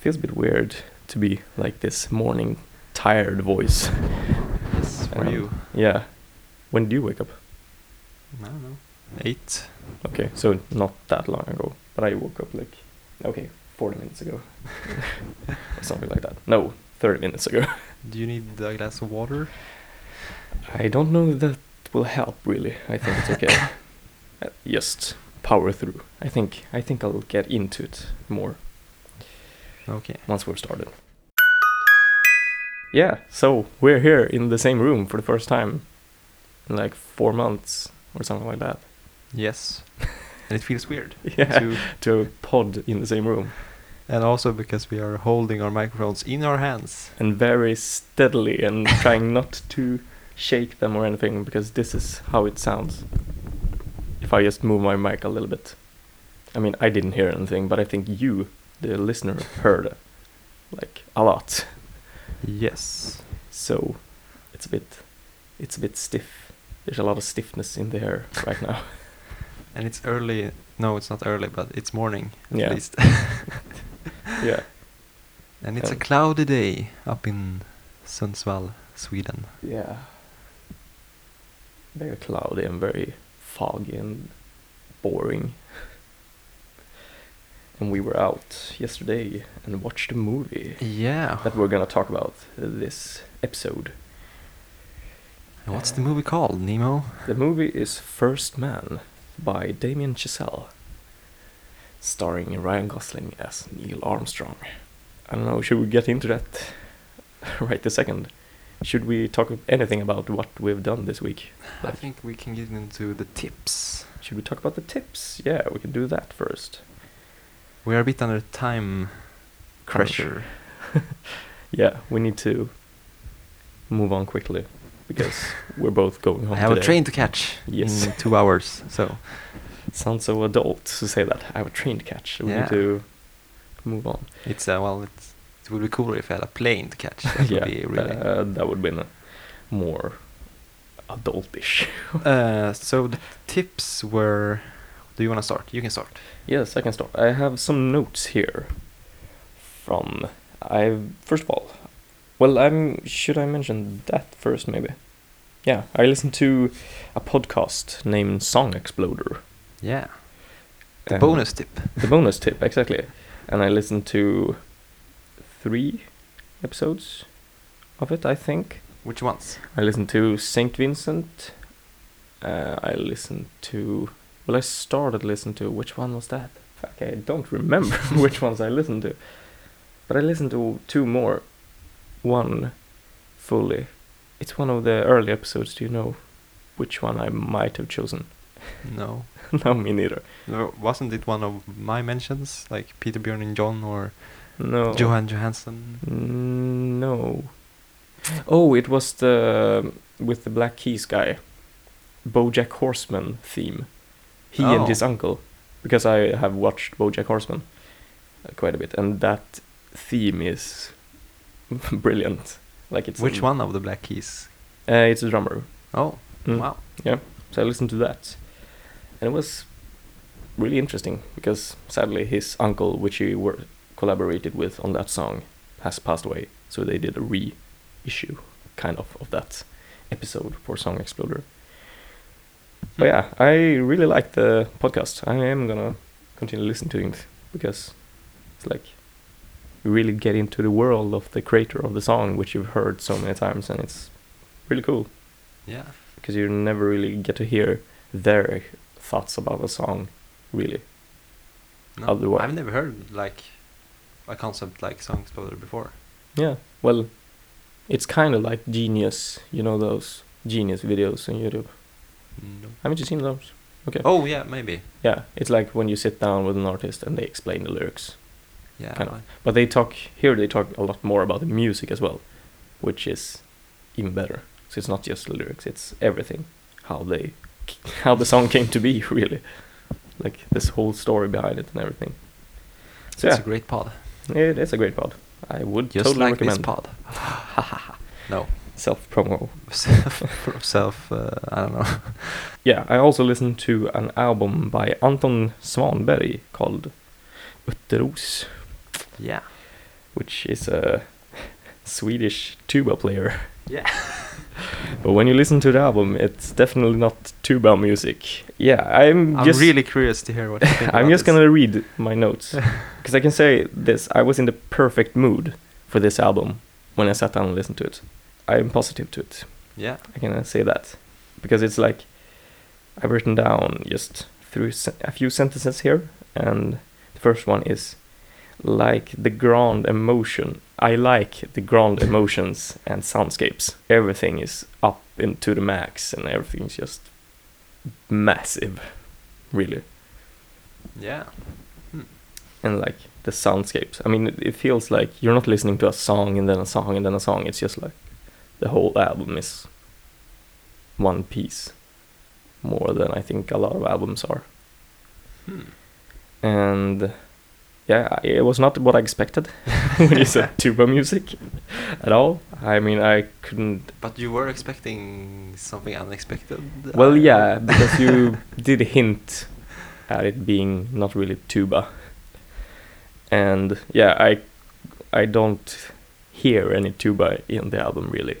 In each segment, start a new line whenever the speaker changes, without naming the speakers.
feels a bit weird to be like this morning tired voice.
Yes, for
Um,
you.
Yeah. When do you wake up?
I don't know. Eight.
Okay, so not that long ago, but I woke up like okay, 40 minutes ago. or something like that. No, 30 minutes ago.
Do you need a glass of water?
I don't know if that will help really. I think it's okay. Uh, Just power through. I think I think I'll get into it more
Okay.
once we're started. Yeah, so we're here in the same room for the first time in like 4 months or something like that.
Yes. and it feels weird.
Yeah.
To,
To pod in the same room
and also because we are holding our microphones in our hands.
and very steadily and trying not to shake them or anything because this is how it sounds. If I just move my mic a little bit. I mean, I didn't hear anything, but I think you, the listener, heard like a lot.
Yes.
So it's a bit it's a bit stiff. There's a lot of stiffness in the air right now.
And it's early. No, it's not early, but it's morning at
Yeah.
least.
yeah.
and it's a
Um,
cloudy day up in Sundsvall, Sweden.
Yeah. Very cloudy and very foggy and boring. And we were out yesterday and watched a movie
Yeah.
that we're gonna talk about this episode.
And what's the movie called, Nemo?
The movie is First Man by Damien Chazelle, starring Ryan Gosling as Neil Armstrong. I don't know, should we get into that right this second? Should we talk anything about what we've done this week?
I
Like-
think we can get into the tips.
Should we talk about the tips? Yeah, we can do that first.
We are a bit under time
Crunch.
pressure.
Yeah, we need to move on quickly because we're both going home.
I have
today.
a train to catch
Yes.
in two hours, so
Sounds so adult to say that. I have a train to catch. We
Yeah.
need to move on.
it's uh, well, it's, it would be cooler if I had a plane to catch. That
yeah,
would be really.
uh, that would be more adultish.
Uh, so the tips were. Do you want to start? You can start.
Yes, I can start. I have some notes here. From I first of all, well, I'm should I mention that first maybe? Yeah, I listened to a podcast named Song Exploder.
Yeah. The
and-
bonus tip.
The bonus tip exactly, and I listened to three episodes of it. I think
Which ones?
I listened to Saint Vincent. Uh, I listened to well, I started listening to which one was that? Fuck, I don't remember which ones I listened to, but I listened to two more. One fully. It's one of the early episodes. Do you know which one I might have chosen?
No.
no, me neither.
No, Wasn't it one of my mentions, like Peter Bjorn and John or
No.
Johan Johansson?
Mm, No. Oh, it was the with the Black Keys guy, BoJack Horseman theme. He
Oh.
and his uncle, because I have watched BoJack Horseman uh, quite a bit, and that theme is brilliant. Like it's
Which
a-
one of the Black Keys?
Uh, it's a drummer.
Oh,
Mm.
wow.
So I listened to that, and it was really interesting because sadly his uncle, which he wor- collaborated with on that song, has passed away. So they did a reissue, kind of, of that episode for Song Exploder.
Hmm.
But Oh, yeah, I really like the podcast. I am gonna continue listening to it because it's like you really get into the world of the creator of the song, which you've heard so many times, and it's really cool
Yeah.
because you never really get to hear their thoughts about a song, really.
No,
Other one.
I've never heard like a concept like Song Exploder before.
Yeah, well, it's kind of like Genius, you know those Genius videos on YouTube.
No.
Haven't you seen those? Okay.
Oh yeah, maybe.
Yeah, it's like when you sit down with an artist and they explain the lyrics.
Yeah.
Kind of.
I-
But they talk here. They talk a lot more about the music as well, which is even better. So it's not just the lyrics; it's everything, how they, how the song came to be, really, like this whole story behind it and everything. So
It's
yeah,
a great pod.
It is a great pod. I would
Just
totally
like
recommend
this pod. no.
self promo.
Self, self uh, I don't know.
Yeah, I also listened to an album by Anton Svanberg called Utteros.
Yeah.
which is a Swedish tuba player.
Yeah.
But when you listen to the album, it's definitely not tuba music. Yeah, I'm,
I'm
just
really curious to hear what you think.
I'm
about
just
this.
gonna read my notes because I can say this: I was in the perfect mood for this album when I sat down and listened to it. I'm positive to it.
Yeah.
I can uh, say that because it's like I've written down just through sen- a few sentences here, and the first one is like the grand emotion. I like the grand emotions and soundscapes. Everything is up into the max, and everything's just massive, really.
Yeah.
And like the soundscapes. I mean, it, it feels like you're not listening to a song and then a song and then a song. It's just like the whole album is one piece more than I think a lot of albums are.
Hmm.
and yeah, it was not what I expected when you said tuba music at all. I mean, I couldn't.
But you were expecting something unexpected. uh,
Well,
I-
yeah, because you did hint at it being not really tuba, and yeah, I I don't hear any tuba in the album really.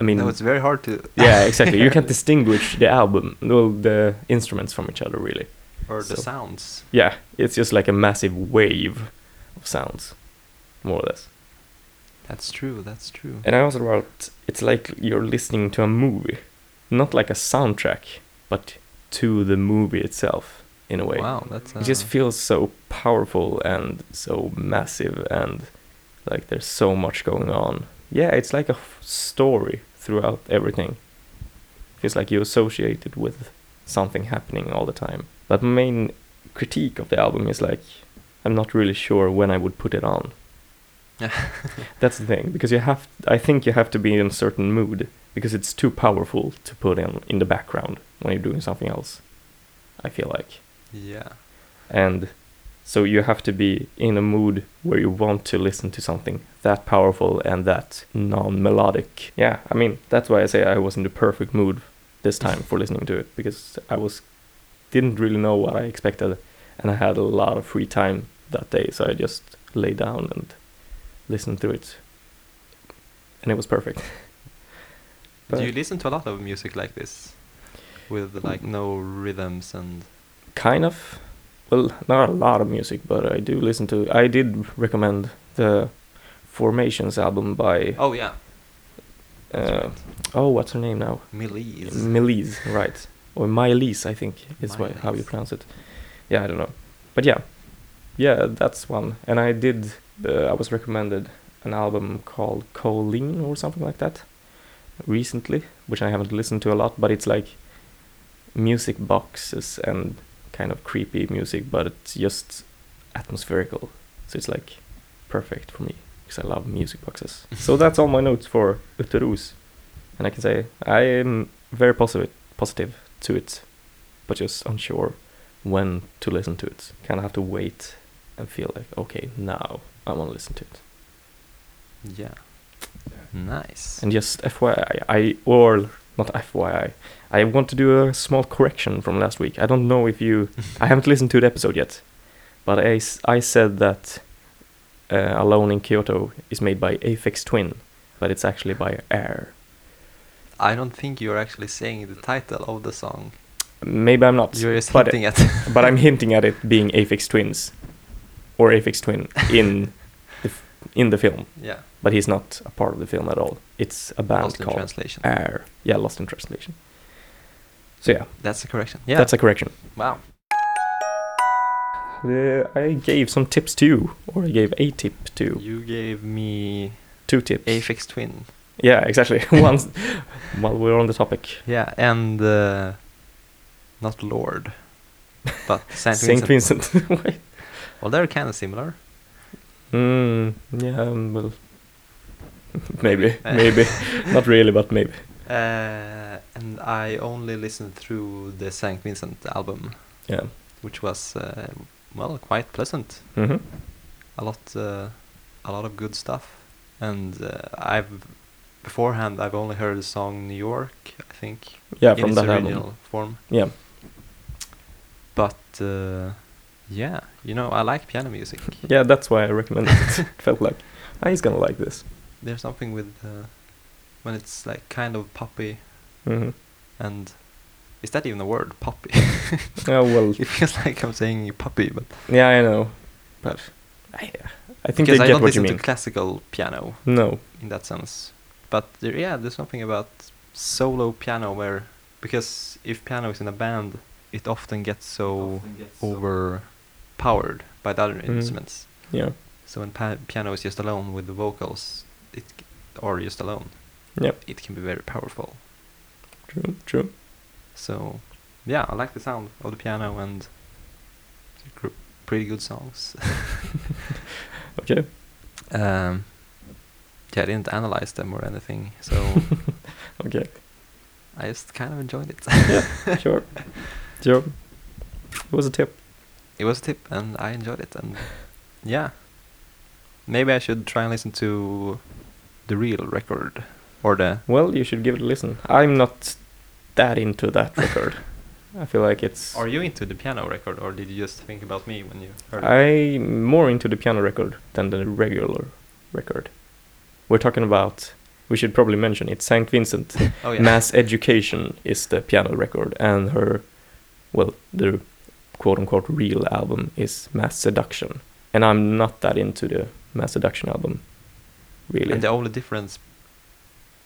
I mean,
no, it's very hard to.
yeah, exactly. You can't
hear
distinguish the album, well, the instruments from each other really.
or the
so.
sounds.
Yeah, it's just like a massive wave of sounds, more or less.
That's true. That's true.
And I also wrote, it's like you're listening to a movie, not like a soundtrack, but to the movie itself in a way.
Wow, that's. Uh,
It just feels so powerful and so massive, and like there's so much going on. Yeah, it's like a f- story throughout everything. Feels like you associate it with something happening all the time. But my main critique of the album is like, I'm not really sure when I would put it on. That's the thing because you have. I think you have to be in a certain mood because it's too powerful to put in in the background when you're doing something else. I feel like,
yeah.
and so you have to be in a mood where you want to listen to something that powerful and that non-melodic. Yeah, I mean that's why I say I was in the perfect mood this time for listening to it because I was didn't really know what I expected, and I had a lot of free time that day, so I just lay down and listened to it, and it was perfect.
Do
But-
you listen to a lot of music like this, with like no rhythms and?
kind of well not a lot of music but i do listen to i did recommend the formations album by
Oh yeah. that's
uh,
right.
oh what's her name now Mm.
Milise.
Melise, right or Milise, i think is why, how you
Milise.
pronounce it yeah i don't know but yeah yeah that's one and i did uh, i was recommended an album called Colleen or something like that recently which i haven't listened to a lot but it's like music boxes and kind of creepy music, but it's just atmospherical. So it's like perfect for me because I love music boxes. so that's all my notes for Uterus. And I can say I am very positive positive to it, but just unsure when to listen to it. Kind of have to wait and feel like okay, now I want to listen to it.
Yeah. Nice.
And just FYI, I or not FYI, I want to do a small correction from last week. I don't know if you, I haven't listened to the episode yet, but I, s- I said that uh, Alone in Kyoto is made by Aphex Twin, but it's actually by Air.
I don't think you're actually saying the title of the song.
Maybe I'm not,
You're just
but-
hinting at.
but I'm hinting at it being Aphex Twins, or Aphex Twin in the f- in the film.
yeah.
But he's not a part of the film at all. It's a band
Lost in
called
translation.
Air. Yeah, Lost in Translation. So yeah,
That's a correction. Yeah.
that's a correction.
wow.
Uh, I gave some tips to you, or I gave a tip to you.
You gave me
Two tips.
Aphex Twin.
yeah, exactly. Once, while we're on the topic,
Yeah, and uh, not Lord, but Saint,
Saint
Vincent.
Vincent. Wait.
Well, they're kind of similar.
mm, yeah, um, well, maybe,
Eh.
maybe, not really, but maybe.
Uh, and I only listened through the Saint Vincent album,
Yeah.
which was uh, well quite pleasant.
Mm-hmm.
A lot, uh, a lot of good stuff. And uh, I've beforehand I've only heard the song New York, I think,
Yeah,
in
from
its
that
original
album.
form.
Yeah.
But uh, yeah, you know I like piano music.
Yeah, that's why I recommended it. Felt like Ah, he's gonna like this.
There's something with uh, when it's like kind of puppy Mm-hmm.
hmm
and is that even a word? Puppy.
Oh well.
it feels like I'm saying puppy, but
Yeah, I know, but I, I think they
because I
get
don't
what you
listen
mean.
to classical piano
no.
in that sense. But there, yeah, there's something about solo piano where because if piano is in a band, it often gets so overpowered by the other
Mhm.
instruments.
Yeah.
So when pa- piano is just alone with the vocals, it c- or just alone,
Yep.
it can be very powerful.
True. True.
So yeah, I like the sound of the piano and they're gr- pretty good songs.
Okay.
um, yeah, I didn't analyze them or anything, so
Okay.
I just kind of enjoyed it.
Sure. Sure. It was a tip.
it was a tip and I enjoyed it and yeah. Maybe I should try and listen to the real record or the
Well, you should give it a listen. I'm not that into that record. I feel like it's.
Are you into the piano record or did you just think about me when you heard it?
I'm more into the piano record than the regular record. We're talking about. We should probably mention it. Saint Vincent
Oh
Mass Education is the piano record, and her, well, the quote unquote real album is Mass Seduction. And I'm not that into the Mass Seduction album, really.
And the only difference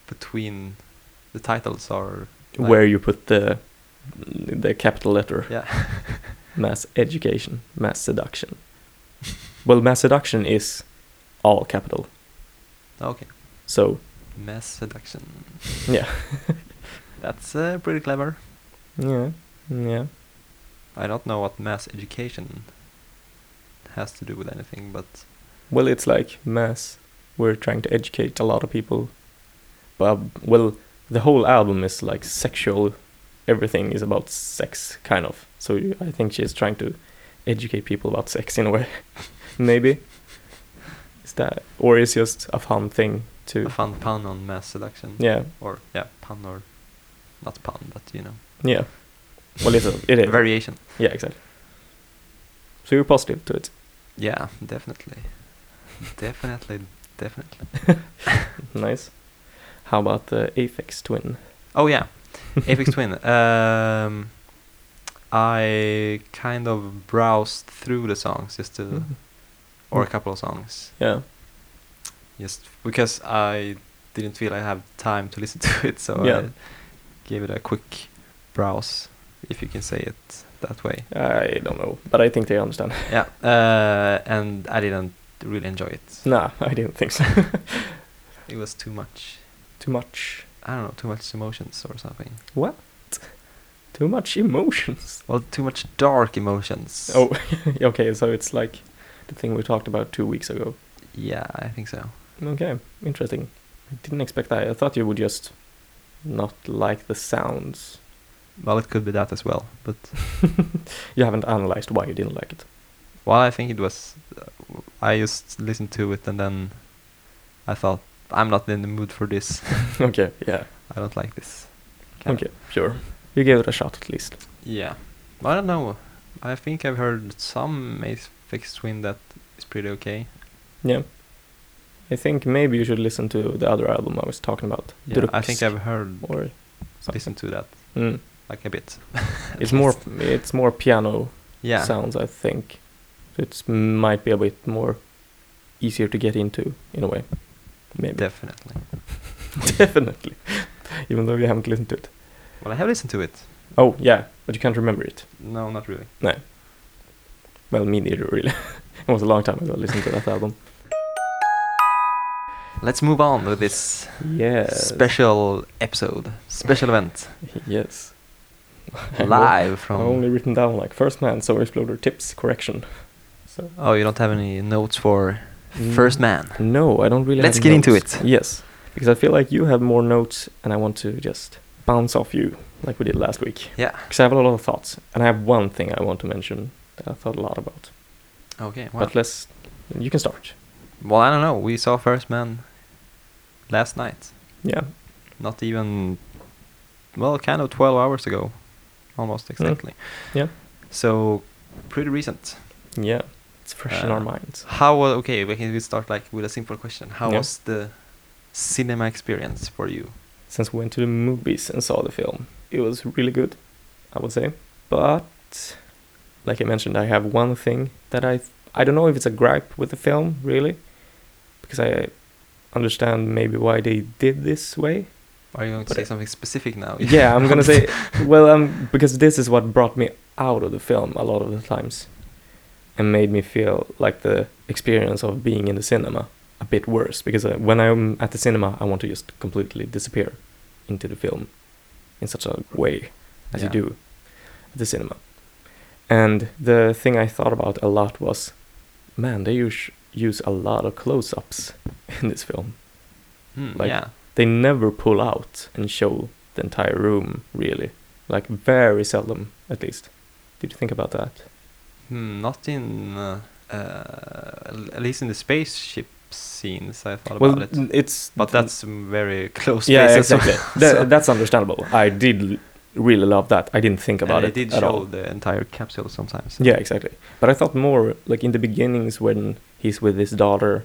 between the titles are like-
where you put the the capital letter
yeah
mass education mass seduction well mass seduction is all capital
okay
so
mass seduction
Yeah.
that's uh, pretty clever
yeah yeah
I don't know what mass education has to do with anything but
well it's like mass we're trying to educate a lot of people but well the whole album is like sexual everything is about sex kind of so you- i think she's trying to educate people about sex in a way maybe is that or is just a fun thing to
a fun pun on mass seduction
yeah
or yeah pun or not pun but you know
Yeah. Well, it's a, it is.
variation
Yeah, exactly. So you're positive to it.
yeah definitely definitely definitely
Nice. How about the Aphex Twin?
oh yeah Apex Twin um I kind of browsed through the songs just to
Mm-hmm.
or a couple of songs
Yeah.
just because I didn't feel I have time to listen to it so
Yeah.
I gave it a quick browse if you can say it that way
I don't know, but I think they understand.
yeah uh, and I didn't really enjoy it
nah, I didn't think so.
it was too much
too much.
I don't know too much emotions or something
Too much emotions.
well too much dark emotions
Oh, okay. So it's like the thing we talked about two weeks ago.
yeah I think so
Okay, interesting. I didn't expect that. I thought you would just not like the sounds.
well it could be that as well but
You haven't analyzed why you didn't like it.
Well, I think it was. uh, I just listened to it and then I thought I'm not in the mood for this.
Okay. Yeah.
I don't like this. kind of."
Okay. Sure. You gave it a shot at least.
Yeah. I don't know. I think I've heard some Mace Fix Twin that is pretty okay.
Yeah. I think maybe you should listen to the other album I was talking about.
Yeah, I
Drugs
think I've heard
or
listened to that
Mm.
like a bit.
It's more it's more piano
Yeah.
sounds, I think. It might be a bit more easier to get into in a way. Maybe.
Definitely.
Definitely. Even though you haven't listened to it.
Well, I have listened to it.
Oh yeah, but you can't remember it.
No, not really.
Well, me neither really. it was a long time ago I listened to that album.
Let's move on with this
Yes.
special episode, special event,
Yes. I know.
live from.
I only written down like first man, so exploder tips correction. So
Oh, you don't have any notes for
Mm.
First Man.
No, I don't really.
Let's
have
get
notes.
into it.
Yes, because I feel like you have more notes, and I want to just bounce off you like we did last week.
Yeah.
Because I have a lot of thoughts, and I have one thing I want to mention that I thought a lot about.
Okay. Well,
But let's. You can start.
well, I don't know. We saw First Man last night.
Yeah.
Not even, well, kind of 12 hours ago, almost exactly.
Mm. Yeah.
So, pretty recent.
Yeah. It's fresh in our
Uh,
minds.
How was okay? We can we start like with a simple question. How
Yeah.
was the cinema experience for you?
Since we went to the movies and saw the film, it was really good, I would say. But like I mentioned, I have one thing that I I don't know if it's a gripe with the film really, because I understand maybe why they did this way.
Are you going to
But
say
I-
something specific now?
yeah, I'm gonna say well, um, because this is what brought me out of the film a lot of the times, and made me feel like the experience of being in the cinema a bit worse. Because uh, when I'm at the cinema, I want to just completely disappear into the film in such a way as you
Yeah.
do at the cinema. And the thing I thought about a lot was, man, they use use a lot of close-ups in this film
Hmm,
like-
yeah.
they never pull out and show the entire room really like very seldom at least did you think about that
Hmm, not in uh, uh, at least in the spaceship scenes. I thought
well
about it,
n- it's
but that's mm, very close.
yeah
spaces,
exactly
so-
Tha- that's understandable i did l- really love that i didn't think
And
about
they
it
did
at
show
all
the entire capsule sometimes. so-
yeah exactly but i thought more like in the beginnings when he's with his daughter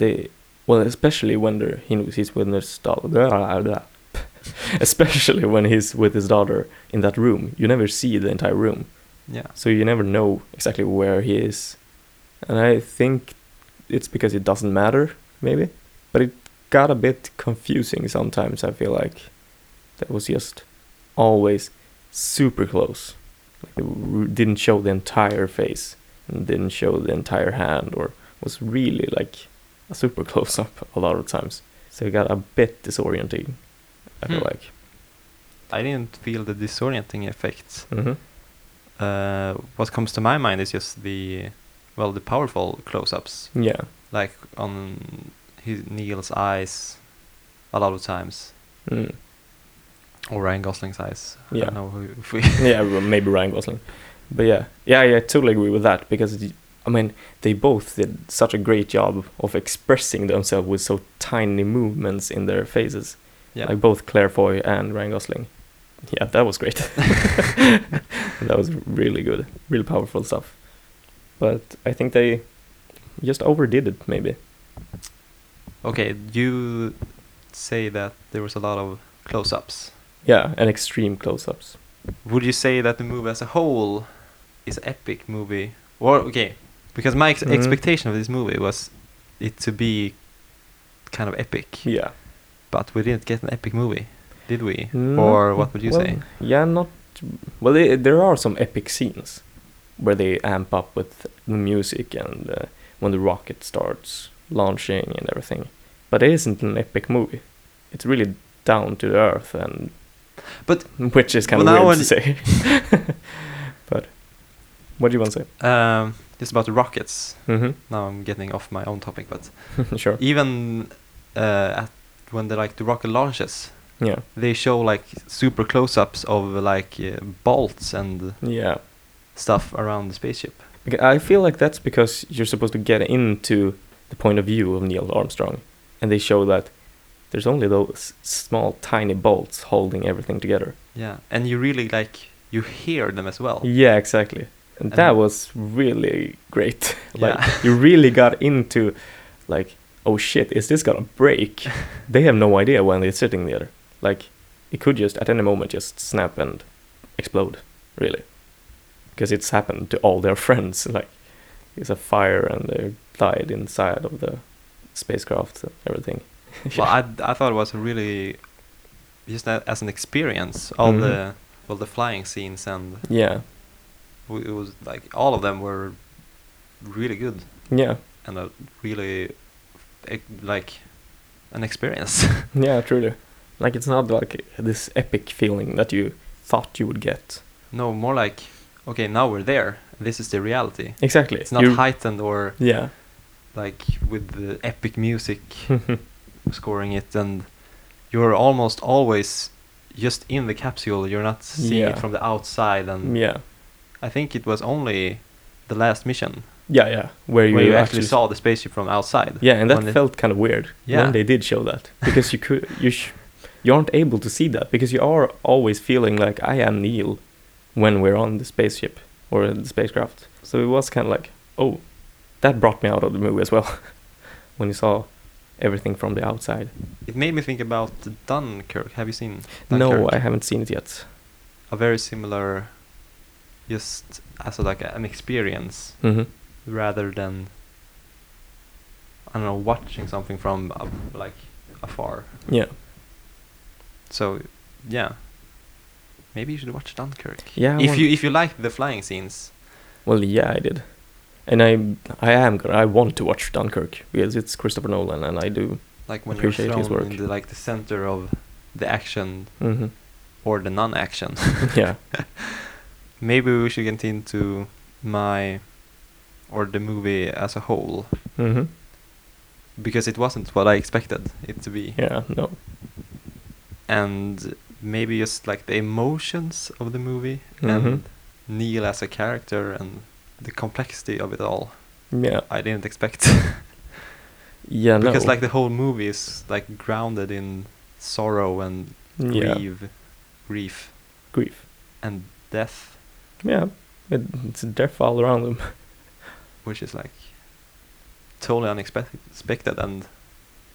they well especially when they're- he knows he's with his daughter especially when he's with his daughter in that room you never see the entire room
yeah.
so you never know exactly where he is. And I think it's because it doesn't matter, maybe. But it got a bit confusing sometimes, I feel like. That was just always super close. Like they w- didn't show the entire face and didn't show the entire hand or was really like a super close up a lot of times. So it got a bit disorienting, I feel
Hmm.
like.
I didn't feel the disorienting effect.
Mm-hmm.
uh, what comes to my mind is just the well the powerful close-ups
Yeah.
like on his neil's eyes a lot of times
Mm.
or ryan gosling's eyes i
Yeah.
don't know who, if we
yeah, well, maybe Ryan Gosling. But yeah, yeah, yeah, I totally agree with that because y- I mean they both did such a great job of expressing themselves with so tiny movements in their faces,
yeah
like both Claire Foy and Ryan Gosling. Yeah, that was great. that was really good, really powerful stuff. But I think they just overdid it, maybe.
okay you say that there was a lot of close-ups
Yeah, and extreme close-ups.
would you say that the movie as a whole is an epic movie or okay because my ex-
Mhm.
expectation of this movie was it to be kind of epic
Yeah.
But we didn't get an epic movie, did we? or what would you
Mm-hmm. well,
say?
Yeah, not well. They, there are some epic scenes where they amp up with the music and uh, when the rocket starts launching and everything. But it isn't an epic movie. It's really down to the earth and
But-
which is kind
Well,
of
now
weird
when-
to say. but what do you want to say?
Um, just about the rockets.
Mm-hmm.
Now I'm getting off my own topic, but
sure.
even uh, at when the like the rocket launches,
Yeah.
they show like super close-ups of like uh, bolts and
Yeah.
stuff around the spaceship.
Okay, I feel like that's because you're supposed to get into the point of view of Neil Armstrong, and they show that there's only those small, tiny bolts holding everything together.
Yeah, and you really like you hear them as well.
Yeah, exactly. And that
Oh. And-
was really great. like
Yeah.
you really got into, like, oh shit, is this gonna break? they have no idea when they're sitting there. Like, it could just at any moment just snap and explode, really, because it's happened to all their friends. Like, it's a fire and they died inside of the spacecraft and everything.
Well, I I thought it was really just a, as an experience. All
Mhm.
the well the flying scenes and
yeah,
w- it was like all of them were really good
yeah,
and a really e- like an experience.
yeah, truly. Like, it's not like this epic feeling that you thought you would get.
no, more like okay, now we're there. This is the reality.
Exactly.
It's not
You-
heightened or
Yeah.
like with the epic music scoring it, and you're almost always just in the capsule. You're not seeing
Yeah.
it from the outside, and
yeah.
I think it was only the last mission
Yeah, yeah. Where you,
where you
actually,
actually saw the spaceship from outside.
Yeah, and that
when it-
felt kind of weird
Yeah.
when they did show that because you could you sh- you aren't able to see that because you are always feeling like I am Neil when we're on the spaceship or the spacecraft. So it was kind of like, oh, that brought me out of the movie as well when you saw everything from the outside.
It made me think about Dunkirk. Have you seen?
No,
Dunkirk?
I haven't seen it yet.
A very similar, just as a, like a, an experience
hmm
rather than I don't know watching something from uh, like afar.
Yeah,
So yeah, maybe you should watch Dunkirk.
yeah. I
if
want-
you if you like the flying scenes,
Well, yeah, I did, and I I am gonna I want to watch Dunkirk because it's Christopher Nolan and I do.
like when
Appreciate
you're
his
thrown
work.
in the, like the center of the action
hmm
or the non-action,
yeah.
maybe we should get into my or the movie as a whole
hmm
because it wasn't what I expected it to be,
Yeah. No.
and maybe just like the emotions of the movie
Mhm.
and Neil as a character and the complexity of it all.
Mm-hmm. Yeah.
I didn't expect.
Yeah.
because
no.
like the whole movie is like grounded in sorrow and
yeah.
grief, grief
grief.
and death,
Yeah. It, it's death all around them.
which is like totally unexpected and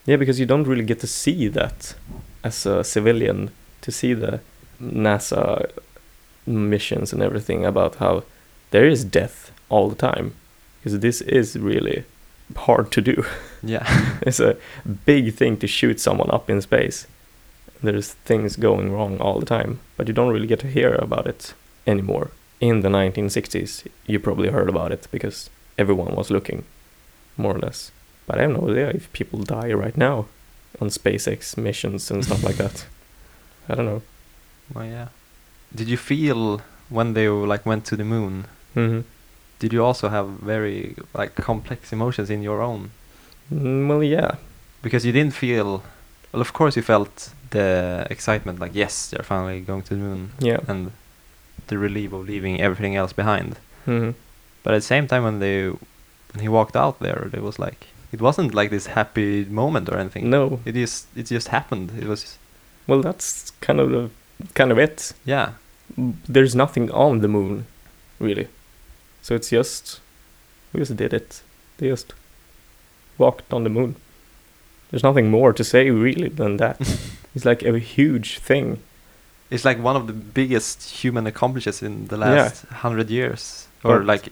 Yeah, because you don't really get to see that as a civilian to see the NASA missions and everything about how there is death all the time because this is really hard to do.
yeah,
it's a big thing to shoot someone up in space. There's things going wrong all the time, but you don't really get to hear about it anymore. In the 1960s, you probably heard about it because everyone was looking, more or less. But I have no idea if people die right now on SpaceX missions and stuff like that. I don't know.
well, Oh, yeah. Did you feel when they like went to the moon?
hmm
Did you also have very like complex emotions in your own?
Mm, Well, yeah.
Because you didn't feel. Well, of course you felt the excitement, like yes, they're finally going to the moon,
Yeah.
and the relief of leaving everything else behind.
hmm
But at the same time, when they when he walked out there, it was like it wasn't like this happy moment or anything.
No.
it just it just happened. It was
Well, that's kind of the, kind of it.
yeah,
there's nothing on the moon, really. So it's just we just did it. They just walked on the moon. There's nothing more to say really than that. it's like a huge thing.
it's like one of the biggest human accomplishments in the
Yeah.
last hundred years or
But-
like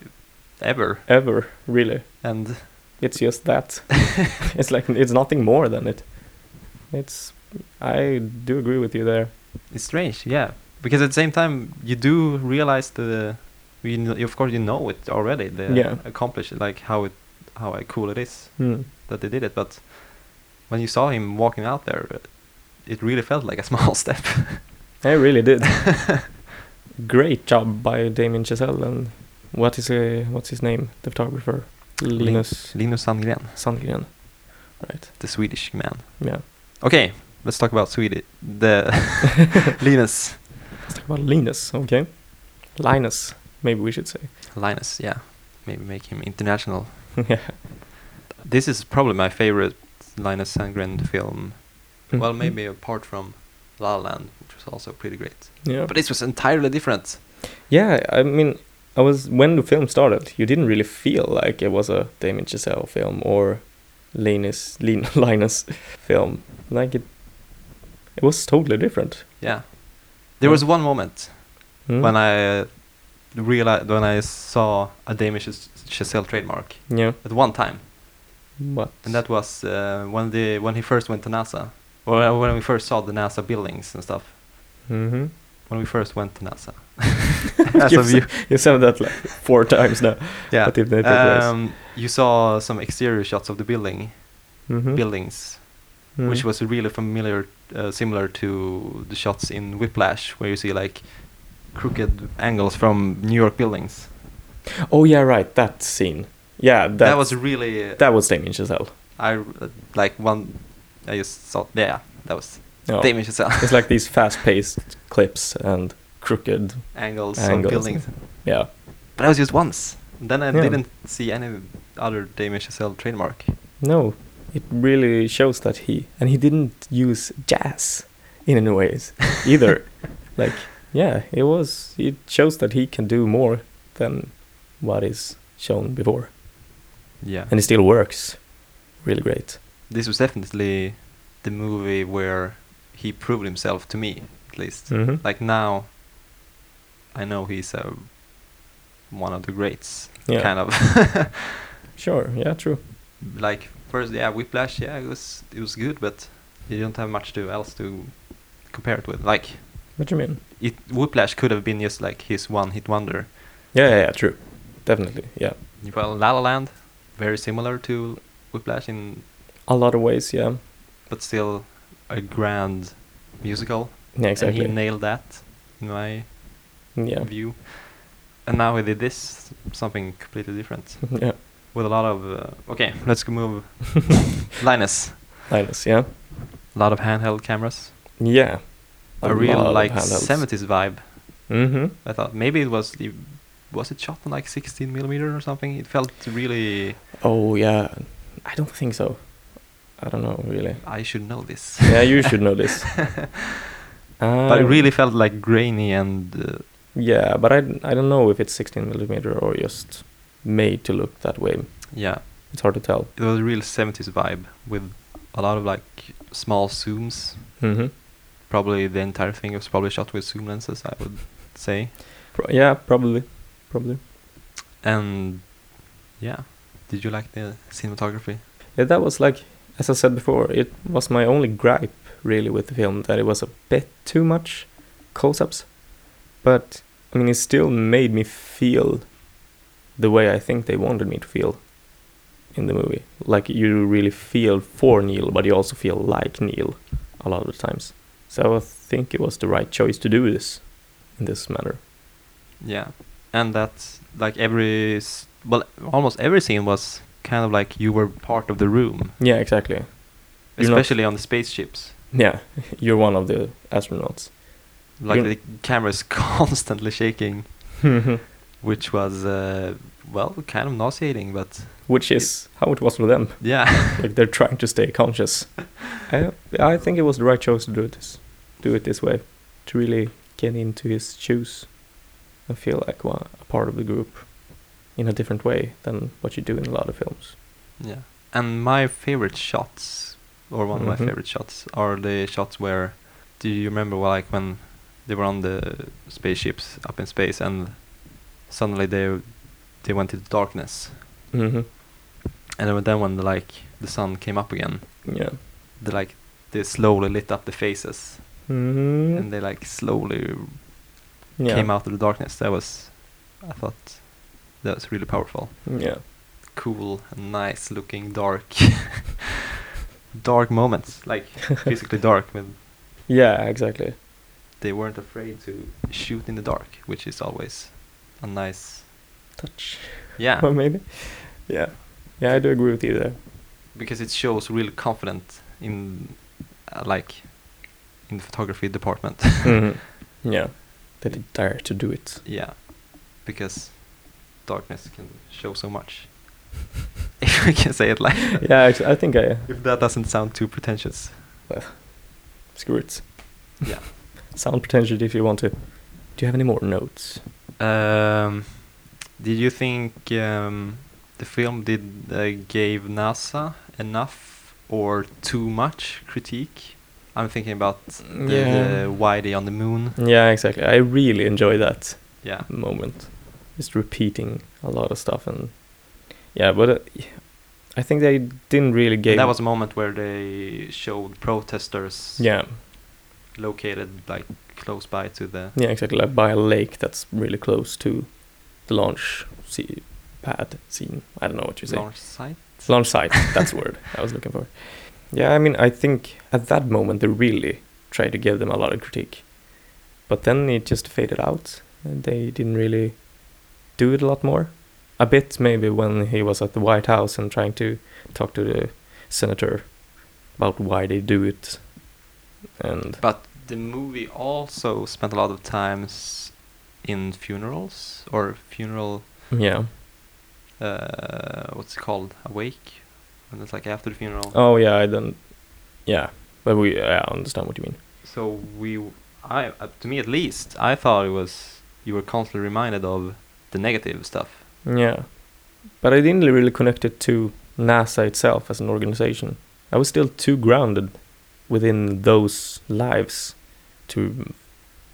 ever.
Ever, really.
And
It's just that. it's like it's nothing more than it. It's I do agree with you there.
it's strange, yeah, because at the same time you do realize the you know, of course you know it already the
Yeah.
accomplished like how it how uh, cool it is
Hmm.
that they did it, but when you saw him walking out there. uh, It really felt like a small step.
I really did. Great job by Damien Chazelle and what is uh, what's his name? The photographer. Linus
Linus Sandgren,
Sandgren. Right.
the Swedish man.
Yeah.
Okay, let's talk about Sweden. The Linus,
Let's talk about Linus, okay? Linus, maybe we should say.
Linus, yeah, maybe make him international.
yeah.
This is probably my favorite Linus Sandgren film.
Mm-hmm.
Well, maybe apart from La La Land, which was also pretty great.
Yeah.
But this was entirely different.
yeah, I mean, I was when the film started, you didn't really feel like it was a Damien Chazelle film or Linus Lin, Linus film. Like it, it was totally different.
Yeah, there was one moment
Mm.
when I realized when I saw a Damien Chaz- Chazelle trademark
yeah,
at one time.
but
And that was uh, when the when he first went to NASA, or uh, when we first saw the NASA buildings and stuff.
hmm
When we first went to NASA. As
you,
of you,
said, you said that like four times now.
yeah.
But if that applies.
um, you saw some exterior shots of the building
Mhm.
buildings,
Mhm.
which was really familiar, uh, similar to the shots in Whiplash, where you see like crooked angles from New York buildings.
oh yeah, right that scene. Yeah, that,
that was really uh,
that was Damien Chazelle.
I uh, like one. I just thought, yeah, that was
Oh.
Damien Chazelle
it's like these fast-paced clips and crooked
angles,
Angles.
of buildings.
yeah
But that was just once. Then I
Yeah.
didn't see any other Damien Chazelle trademark.
no it really shows that he and he didn't use jazz in any ways either like yeah it was it shows that he can do more than what is shown before
Yeah.
and it still works really great
this was definitely the movie where he proved himself to me, at least.
mm-hmm.
Like now, I know he's uh, one of the greats,
yeah
kind of.
sure yeah true
like first, yeah, Whiplash, yeah, it was it was good, but you don't have much to else to compare it with. Like
what do you mean
it, Whiplash could have been just like his one-hit wonder.
yeah yeah, yeah true definitely yeah
Well, La La Land, very similar to Whiplash in,
a lot of ways yeah
but still a grand musical.
yeah exactly
And he nailed that, in my
yeah
view. And now he did this something completely different
yeah
with a lot of. Uh, okay, let's go move. Linus,
Linus yeah
a lot of handheld cameras.
yeah
A, real like seventies vibe.
mm-hmm
I thought maybe it was the, was it shot on like sixteen millimeter or something. It felt really.
oh yeah I don't think so I don't know really
I should know this,
yeah you should know this
but it
Um,
really felt like grainy and uh,
Yeah, but I, I don't know if it's 16 millimeter or just made to look that way.
yeah,
It's hard to tell.
it was a real seventies vibe with a lot of like small zooms.
Mm-hmm.
Probably the entire thing was probably shot with zoom lenses. I would say.
Pro- yeah, probably, probably.
And yeah, did you like the cinematography?
Yeah, that was like, as I said before, it was my only gripe really with the film that it was a bit too much close-ups, but I mean it still made me feel the way I think they wanted me to feel in the movie. Like you really feel for Neil, but you also feel like Neil a lot of the times. So I think it was the right choice to do this in this manner.
Yeah, and that like every s- well, almost every scene was kind of like you were part of the room,
Yeah, exactly. You're not-
especially on the spaceships.
Yeah, you're one of the astronauts.
Like
You're-
the camera's constantly shaking, which was uh, well, kind of nauseating, but
Which is how it was for them.
yeah,
like they're trying to stay conscious. I I think it was the right choice to do this, do it this way, to really get into his shoes and feel like one, a part of the group in a different way than what you do in a lot of films.
yeah. And my favorite shots, or one of my
Mhm.
favorite shots, are the shots where, do you remember well, like when they were on the spaceships up in space and suddenly they they went into darkness,
hmm
and then- then when the, like the sun came up again,
Yeah.
they like they slowly lit up the faces
hmm
and they like slowly
yeah.
came out of the darkness. That was, I thought, that was really powerful,
Yeah.
cool, and nice looking dark. dark moments like physically dark but
Yeah. Exactly.
they weren't afraid to shoot in the dark, which is always a nice
Touch.
yeah,
Or maybe. Yeah. Yeah, I do agree with you there.
because it shows real confident in uh, like in the photography department.
Mhm. Yeah. That they dare to do it.
yeah, because darkness can show so much. if we can say it like that.
Yeah, I, I think I
if that doesn't sound too pretentious.
screw it.
Yeah.
Sound pretentious if you want to. Do you have any more notes?
Um, did you think um, the film did uh, gave NASA enough or too much critique? I'm thinking about the,
Yeah.
the why they on the moon.
Yeah, exactly. I really enjoy that
Yeah,
moment. Just repeating a lot of stuff and yeah, but uh, I think they didn't really give.
that was a moment where they showed protesters
yeah,
located like close by to the
yeah, exactly. Like by a lake that's really close to the launch sea pad scene. I don't know what you say.
launch site.
Launch site. That's the word I was looking for. Yeah, I mean, I think at that moment they really tried to give them a lot of critique, but then it just faded out, and they didn't really do it a lot more. A bit maybe when he was at the White House and trying to talk to the senator about why they do it, and
But the movie also spent a lot of times in funerals or funeral.
yeah,
Uh, what's it called? Awake. And it's like after the funeral.
oh yeah, I don't, yeah, but we, yeah, I understand what you mean.
So we, w- I, uh, to me at least, I thought it was you were constantly reminded of the negative stuff,
Yeah, But I didn't really connect it to NASA itself as an organization. I was still too grounded within those lives to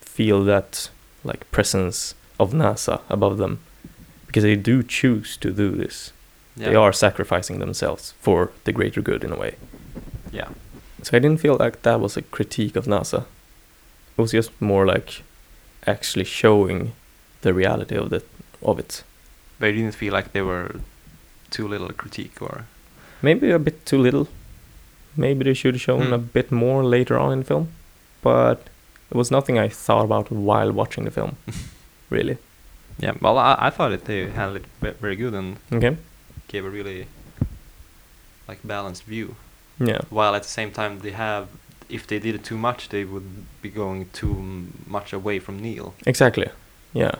feel that like presence of NASA above them because they do choose to do this.
Yeah.
They are sacrificing themselves for the greater good in a way.
Yeah.
So I didn't feel like that was a critique of NASA. It was just more like actually showing the reality of the of it.
But you didn't feel like they were too little critique or
Maybe a bit too little. Maybe they should have shown
Hmm.
a bit more later on in film. But it was nothing I thought about while watching the film. really.
yeah. Well, I, I thought that they handled it ve- very good and
Okay.
gave a really like balanced view.
Yeah.
While at the same time they have, if they did it too much, they would be going too m- much away from Neil.
Exactly. Yeah.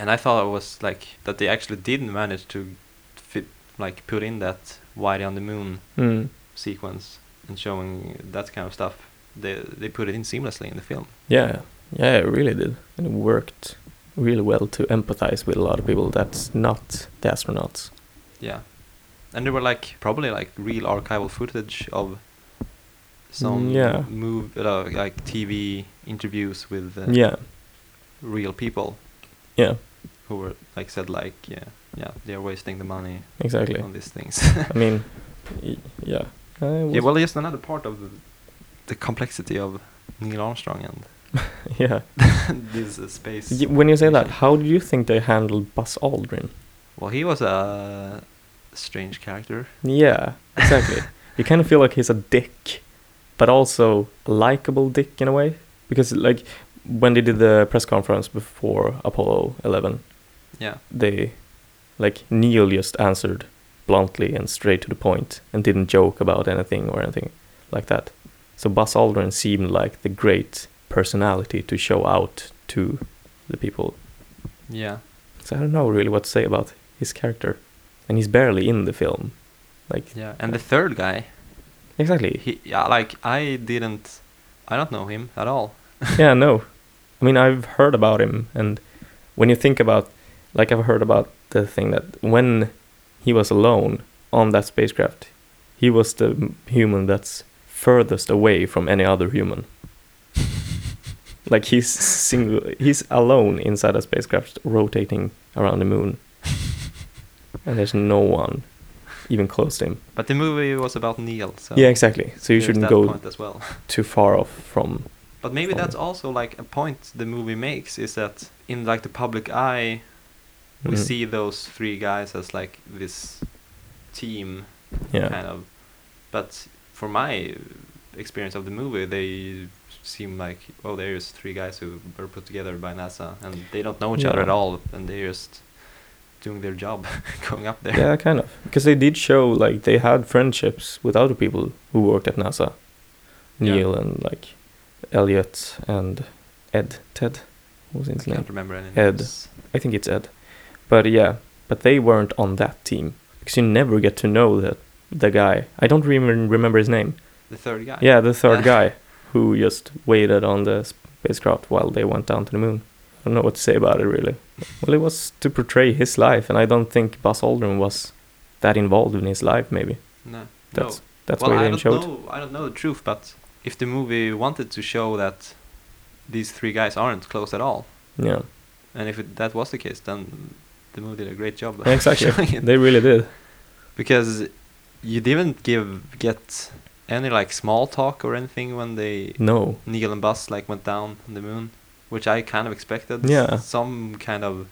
and I thought it was like that they actually did manage to fit like put in that Whitey on the Moon
Mm.
sequence and showing that kind of stuff. They they put it in seamlessly in the film.
Yeah. Yeah, it really did. And it worked really well to empathize with a lot of people that's not the astronauts.
Yeah, and there were like probably like real archival footage of some
Mm, Yeah.
move uh, like TV interviews with uh,
Yeah.
real people
Yeah.
who were like said like yeah yeah they are wasting the money
Exactly.
on these things.
I mean, y- yeah. I
yeah,
was-
well, just another part of the, the complexity of Neil Armstrong and
yeah.
this uh, space.
Y- When you say that,
mission.
how do you think they handled Buzz Aldrin?
Well, he was a strange character.
Yeah, exactly. you kind of feel like he's a dick, but also a likable dick in a way. Because, like, when they did the press conference before Apollo 11,
Yeah,
they, like, Neil just answered bluntly and straight to the point and didn't joke about anything or anything like that. So Buzz Aldrin seemed like the great personality to show out to the people
yeah,
So I don't know really what to say about his character, and he's barely in the film. Like
yeah. And the third guy,
exactly.
he yeah, like I didn't, I don't know him at all.
yeah, no. I mean, I've heard about him, and when you think about, like, I've heard about the thing that when he was alone on that spacecraft, he was the m- human that's furthest away from any other human. like he's single, he's alone inside a spacecraft rotating around the moon, and there's no one even close to him.
But the movie was about Neil, so
yeah, exactly. So you
there's
shouldn't
that
go
point as well.
too far off from.
But maybe
from
that's
it.
also like a point the movie makes is that in like the public eye, we
Mhm.
see those three guys as like this team
Yeah.
kind of. But for my experience of the movie, they seem like oh, there's three guys who were put together by NASA, and they don't know each other at
Yeah.
all, and they're just doing their job, going up there.
Yeah, kind of. Because they did show like they had friendships with other people who worked at NASA,
Yeah.
Neil and like Elliot and Ed. Ted, what was
I
his name?
can't remember any
Ed.
names.
I think it's Ed. But yeah, but they weren't on that team because you never get to know that the guy. I don't even remember his name.
The third guy.
Yeah, the third guy who just waited on the spacecraft while they went down to the moon. I don't know what to say about it really. Well, it was to portray his life, and I don't think Buzz Aldrin was that involved in his life. Maybe
No. no.
that's that's
well,
why
I
they
don't
didn't show it.
know. I don't know the truth, but if the movie wanted to show that these three guys aren't close at all,
Yeah,
and if it, that was the case, then the movie did a great job.
Yeah, exactly.
showing it.
they really did.
because you didn't give get any like small talk or anything when they
No,
Neil and Buzz like went down on the moon, which I kind of expected.
Yeah.
Some kind of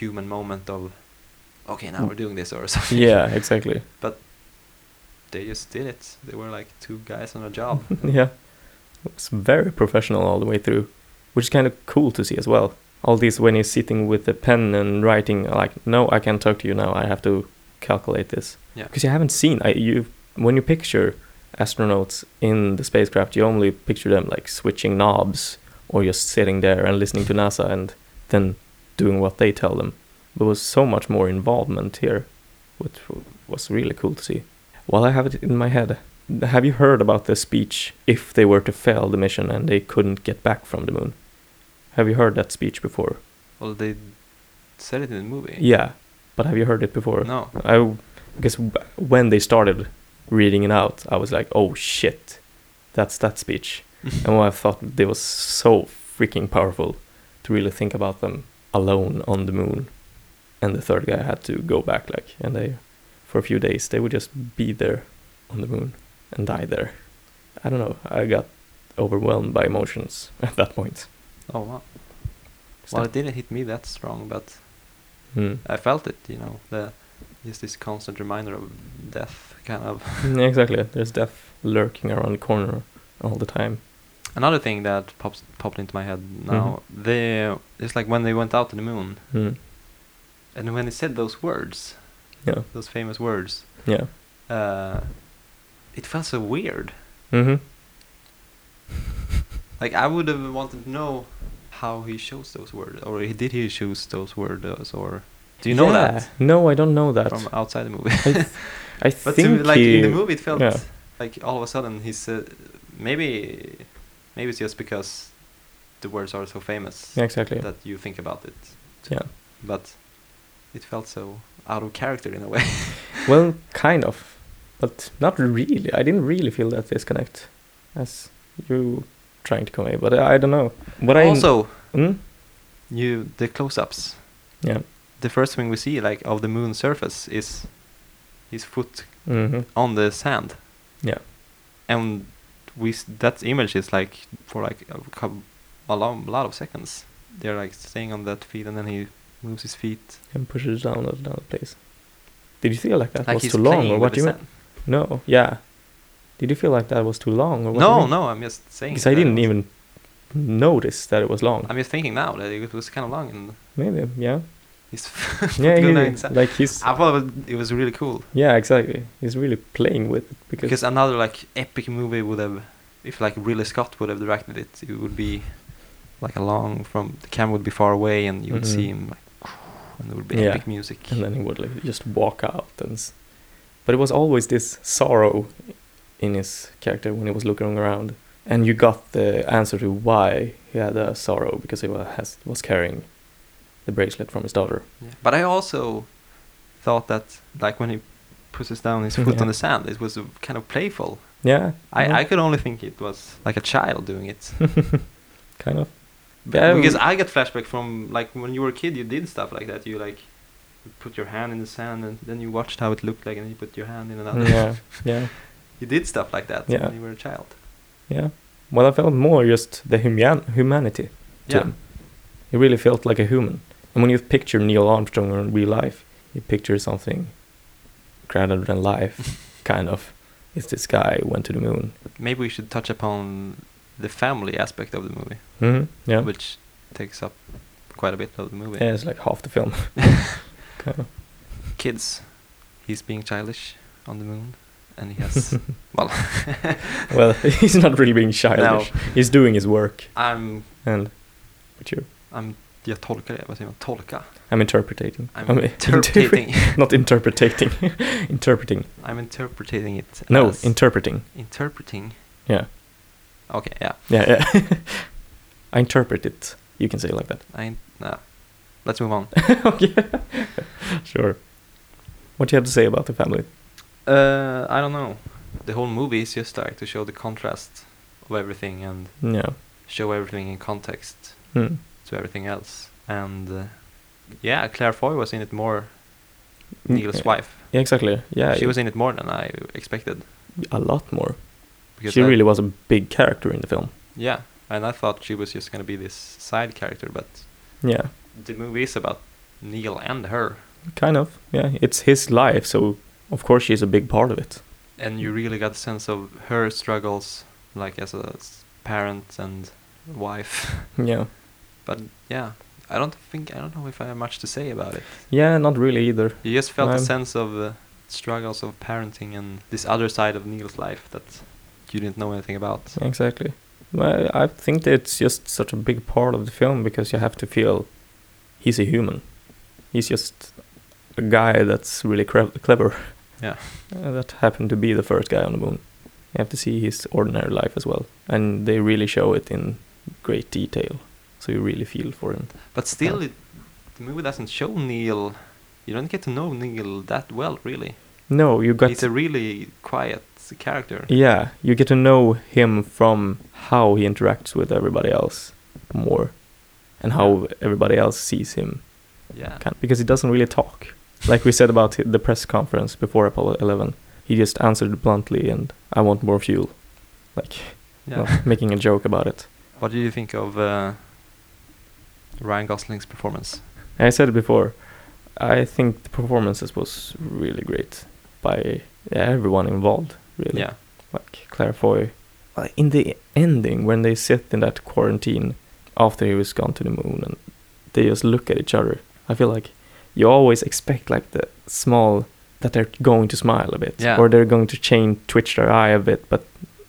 human moment of, okay, now we're doing this or something.
yeah, exactly.
They just did it. They were like two guys on a job.
yeah, it was very professional all the way through, which is kind of cool to see as well. All this when he's sitting with the pen and writing, like, no, I can't talk to you now. I have to calculate this.
Yeah.
Because you haven't seen I, you when you picture astronauts in the spacecraft, you only picture them like switching knobs or just sitting there and listening to NASA and then doing what they tell them. There was so much more involvement here, which w- was really cool to see. Well, I have it in my head. Have you heard about the speech if they were to fail the mission and they couldn't get back from the moon? Have you heard that speech before?
Well, they said it in the movie.
Yeah. But have you heard it before?
No.
I because when they started reading it out, I was like, "Oh shit, that's that speech." and I thought they was so freaking powerful to really think about them alone on the moon. And the third guy had to go back, like, and they, for a few days, they would just be there on the moon and die there. I don't know. I got overwhelmed by emotions at that point.
Oh wow. Well,
Stuff.
it didn't hit me that strong, but
Hmm.
I felt it. You know, the just this constant reminder of death, kind of.
Yeah, exactly. There's death lurking around the corner all the time.
Another thing that pops popped into my head now.
Mm-hmm.
They it's like when they went out to the moon,
Hmm.
and when they said those words,
Yeah.
those famous words,
Yeah.
uh, it felt so weird.
Mm-hmm.
Like I would have wanted to know how he chose those words, or he- did he choose those words, or do you know that
No, I don't know that.
from outside the movie?
I, th- I
but to,
think
like in the
he-
movie, it felt
yeah.
like all of a sudden he said, maybe, maybe it's just because the words are so famous
Yeah, exactly.
that you think about it.
Yeah.
But it felt so out of character in a way.
Well, kind of, but not really. I didn't really feel that disconnect, as you trying to convey. But I, I don't know. What I
also,
Hmm?
you the close-ups.
yeah,
The first thing we see, like of the moon surface, is his foot
hmm
on the sand.
Yeah.
And we s- that image is like for like a, cou- a long, lot of seconds. They're like staying on that feet, and then he moves his feet.
and pushes it down at another place. Did you feel like that
like
was
he's
too long,
playing
or
with
what do you
the
mean?
sand.
No, yeah. Did you feel like that was too long, or what? do you
No,
mean?
no, I'm just saying.
Because I
that it
didn't
was-
even notice that it was long.
I'm just thinking now that it was kind of long, and
Maybe, yeah,
he's.
yeah,
going
yeah,
down the sand.
like he's,
I thought it was- it was really cool
yeah, exactly. He's really playing with it because,
because another like epic movie would have, if like Ridley Scott would have directed it, it would be like a long from the camera would be far away and you would see
Mhm.
him like, and there would be
Yeah.
epic music.
and then he would like just walk out and s- but it was always this sorrow in his character when he was looking around and you got the answer to why he had a sorrow because he was, has, was carrying the bracelet from his daughter
Yeah. But I also thought that like when he pushes down his foot
Yeah. Mm-hmm.
on the sand, it was uh, kind of playful.
yeah
I, I
yeah,
could only think it was like a child doing it.
kind of
B-
Yeah,
because
we-
I get flashback from like when you were a kid, you did stuff like that. You like you put your hand in the sand and then you watched how it looked like, and you put your hand in another.
yeah yeah
you did stuff like that
Yeah.
when you were a child.
yeah well i felt more just the human- humanity to
Yeah,
him he really felt like a human and when you picture neil armstrong in real life you picture something grander than life kind of it's this guy went to the moon
maybe we should touch upon the family aspect of the movie,
hmm Yeah.
which takes up quite a bit of the movie.
yeah, it's like half the film. kind of.
Kids, he's being childish on the moon, and he has well,
Well, he's not really being childish. He's doing his work
I'm
and what you
I'm jag tolkar det, vad säger man? Tolka?
I'm interpreting.
I'm
I'm
interpreting.
not interpreting. interpreting.
I'm interpreting it.
No,
as
interpreting.
interpreting.
Yeah.
Okay, yeah.
Yeah, yeah. I interpret it. You can say it like that.
I no. Let's move on.
okay. sure. What you have to say about the family?
Uh, I don't know. The whole movie is just like to show the contrast of everything and
Yeah.
show everything in context
Hmm.
to everything else. And uh, yeah, Claire Foy was in it more. Neil's wife.
Mm, Yeah, exactly. Yeah.
she was in it more than I expected.
a lot more.
Because
she
I-
really was a big character in the film.
Yeah, and I thought she was just gonna be this side character, but
Yeah.
the movie is about Neil and her,
Kind of, yeah. It's his life, so of course she's a big part of it.
and you really got a sense of her struggles, like as a s- parent and wife.
Yeah.
But yeah, I don't think I don't know if I have much to say about it.
Yeah, not really either.
You just felt a
Um,
sense of uh, struggles of parenting and this other side of Neil's life that you didn't know anything about.
Exactly. Well, I think that it's just such a big part of the film because you have to feel he's a human. He's just a guy that's really cre- clever.
Yeah.
Uh, that happened to be the first guy on the moon. You have to see his ordinary life as well. And they really show it in great detail. So you really feel for him.
But still, it, the movie doesn't show Neil you don't get to know Neil that well, really.
No, you got
He's a really quiet character.
yeah, you get to know him from how he interacts with everybody else more, and how everybody else sees him.
Yeah.
Kind- because he doesn't really talk. Like we said about the press conference before Apollo 11, he just answered bluntly and I want more fuel. Like
yeah.
well, making a joke about it.
What do you think of uh, Ryan Gosling's performance?
I said it before. I think the performances was really great by everyone involved. Really,
Yeah.
Like Claire Foy. Well, In the ending, when they sit in that quarantine after he was gone to the moon, and they just look at each other, I feel like you always expect like the small that they're going to smile a bit,
Yeah.
or they're going to chain twitch their eye a bit, but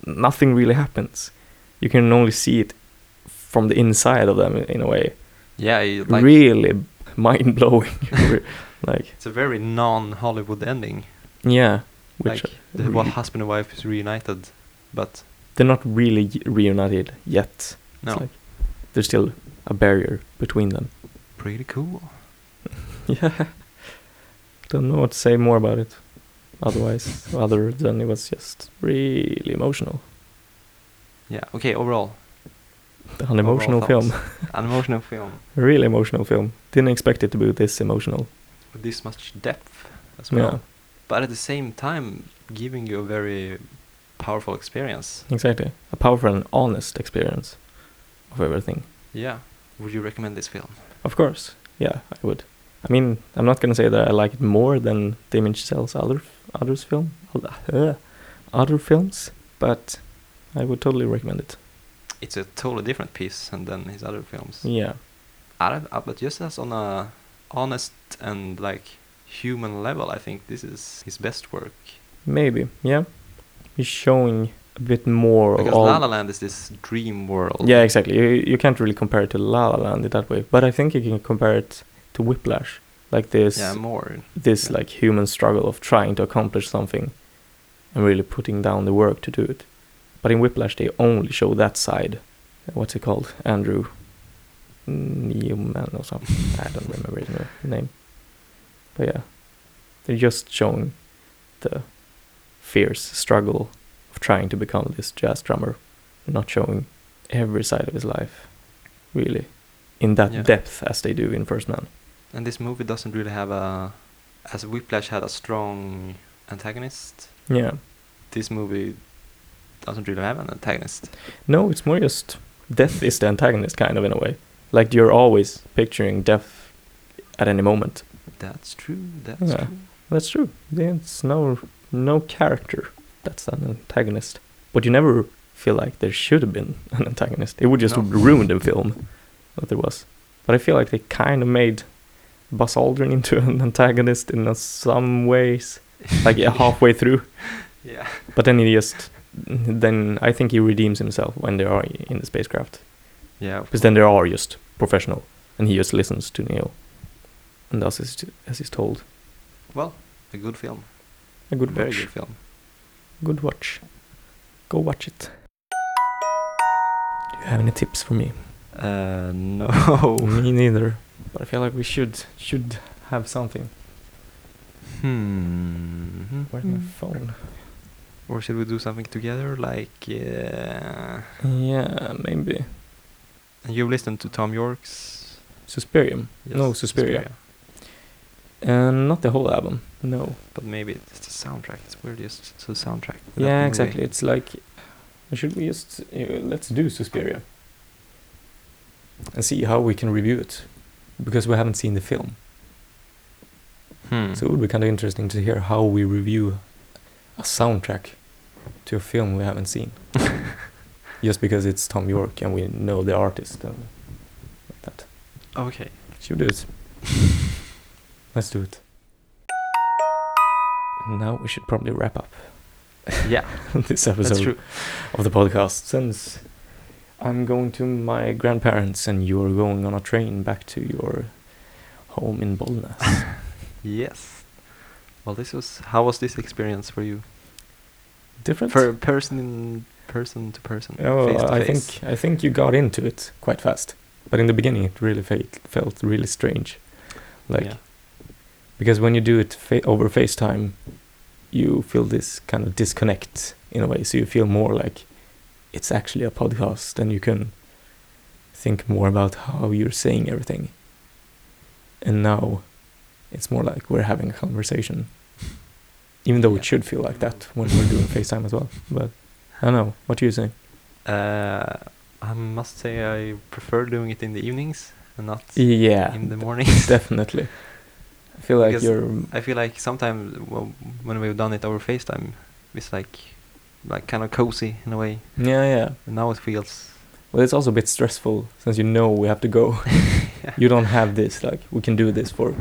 nothing really happens. You can only see it from the inside of them in a way
Yeah, he, like
really mind blowing. like
it's a very non-Hollywood ending.
yeah, which
like
are
the
really-
well, husband and wife is reunited, but
they're not really y- reunited yet.
no,
It's like there's still a barrier between them.
pretty cool.
yeah, don't know what to say more about it. Otherwise, other than it was just really emotional,
Yeah. Okay. Overall,
an emotional
Overall
film,
an emotional film
a really emotional film. Didn't expect it to be this emotional.
with this much depth as well,
Yeah,
but at the same time giving you a very powerful experience.
exactly. A powerful and honest experience of everything.
Yeah. Would you recommend this film?
Of course, yeah, I would. I mean, I'm not gonna say that I like it more than Damien Chazelle's other others film, uh, other films, but I would totally recommend it.
It's a totally different piece, and then his other films.
Yeah,
I don't, uh, but just as on a honest and like human level, I think this is his best work.
maybe. Yeah, he's showing a bit more
Because
of all.
La La Land is this dream world.
yeah, exactly. You, you can't really compare it to La La Land in that way, but I think you can compare it to Whiplash, like this
Yeah, more.
this like human struggle of trying to accomplish something and really putting down the work to do it. But in Whiplash, they only show that side. Uh, What's it called? Andrew Newman or something. I don't remember his na- name. But yeah, they're just showing the fierce struggle of trying to become this jazz drummer. They're not showing every side of his life, really, in that
Yeah.
depth as they do in First Man.
And this movie doesn't really have a. As Whiplash had a strong antagonist,
Yeah.
this movie doesn't really have an antagonist.
No, it's more just death is the antagonist, kind of in a way. Like you're always picturing death at any moment.
That's true. That's
Yeah.
true.
That's true. There's no no character that's an antagonist. But you never feel like there should have been an antagonist. It would just
No.
ruin the film that there was. But I feel like they kind of made Buzz Aldrin into an antagonist in a- some ways, like yeah, halfway through.
Yeah.
But then he just then I think he redeems himself when they are in the spacecraft.
Yeah.
Because then there are just professional, and he just listens to Neo, and does as, as he's told.
Well, a good film.
A good
Very
watch.
good film.
Good watch. Go watch it. Do you have any tips for me?
Uh, no.
Oh, Me neither. But I feel like we should should have something.
Hmm.
Where's my phone?
Or should we do something together? Like, uh,
Yeah, maybe
and you've listened to Tom York's.
Suspirium. no, Suspiria. And not the whole album. No.
But maybe it's the soundtrack. It's weird, just the soundtrack. of that
Yeah,
movie.
exactly. It's like, should we just uh, let's do Suspiria and see how we can review it because we haven't seen the film,
Hmm.
so it would be kind of interesting to hear how we review a soundtrack to a film we haven't seen, just because it's Tom York and we know the artist and like that.
okay.
Should we do it? let's do it. Now we should probably wrap up
Yeah,
this episode.
that's true.
of the podcast since I'm going to my grandparents and you're going on a train back to your home in Bollnäs.
Yes. Well, this was. How was this experience for you?
Different?
For person in person to person.
oh,
face to
I
face.
think I think you got into it quite fast, but in the beginning it really felt felt really strange. Like
Yeah.
because when you do it fa- over FaceTime, you feel this kind of disconnect in a way. So you feel more like it's actually a podcast, and you can think more about how you're saying everything. And now, it's more like we're having a conversation, even though
Yeah.
it should feel like that when we're doing FaceTime as well. But I don't know. What do you say?
Uh, I must say I prefer doing it in the evenings and not
Yeah,
in the mornings.
definitely. I feel like
Because
you're
I feel like sometimes w- when we've done it over FaceTime, it's like like kind of cozy in a way.
Yeah, yeah.
And now it feels
Well, it's also a bit stressful since you know we have to go. you don't have this. Like we can do this for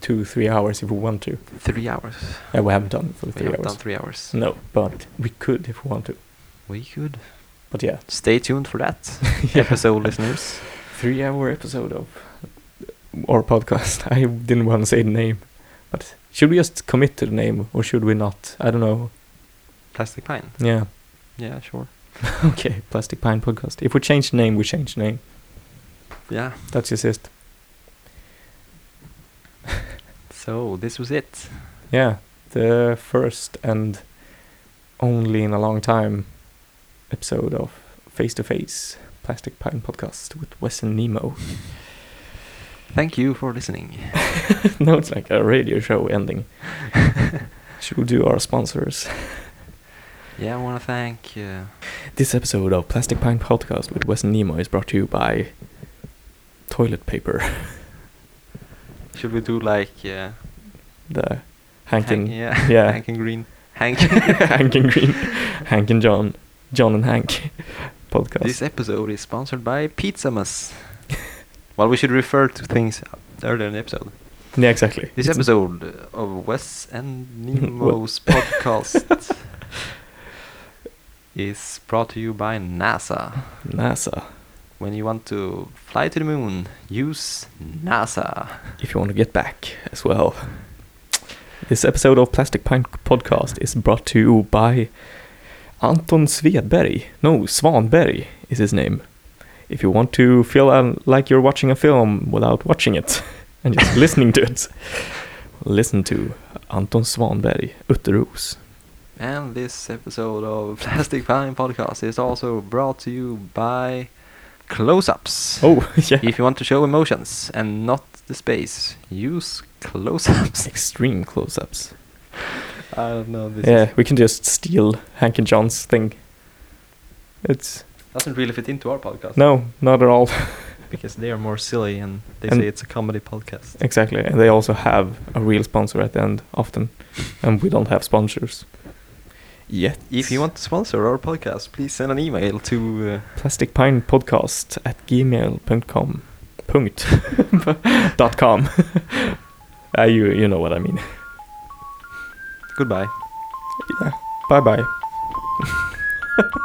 two, three hours if we want to.
three hours.
And we haven't done it for
we
three
have
hours. Mm.
done three hours.
No, but we could if we want to.
We could
But yeah,
stay tuned for that
Yeah.
episode, listeners.
three-hour episode of uh, our podcast. I didn't want to say the name, but should we just commit to the name or should we not? I don't know.
Plastic Pine.
Yeah.
Yeah, sure.
Okay. Plastic Pine Podcast. If we change the name, we change the name.
Yeah.
That's just it.
So this was it.
Yeah, the first and only in a long time episode of Face to Face Plastic Pine Podcast with Wes and Nemo.
Thank you for listening.
now it's like a radio show ending. Should we do our sponsors?
Yeah, I want to thank. Uh,
This episode of Plastic Pine Podcast with Wes and Nemo is brought to you by toilet paper,
should we do like uh,
the Hankin,
Hank- yeah,
yeah.
Hank and Green, Hank.
Hank and Green, Hank and John, John and Hank podcast.
This episode is sponsored by Pizzamas. well, we should refer to things earlier in the episode.
yeah, exactly.
This
It's-
episode uh, of Wes and
Well-
Nemo's podcast is brought to you by NASA.
NASA.
When you want to fly to the moon, use NASA.
if you want to get back as well. This episode of Plastic Pine Podcast is brought to you by Anton Svedberg. No, Svanberg is his name. If you want to feel um, like you're watching a film without watching it and just listening to it, listen to Anton Svanberg, Utteros.
And this episode of Plastic Pine Podcast is also brought to you by Close Ups.
Oh, yeah.
If you want to show emotions and not the space, use close ups.
Extreme close ups.
I don't know. This
Yeah, we can just steal Hank and John's thing. It's.
doesn't really fit into our podcast.
No, not at all.
Because they are more silly and they
And-
say it's a comedy podcast.
Exactly, and they also have a real sponsor at the end often, and we don't have sponsors yet.
If you want to sponsor our podcast, please send an email to. uh,
plasticpinepodcast at gmail.com. Punkt. dot com. uh, you you know what I mean.
Uh, goodbye.
Yeah. Bye bye.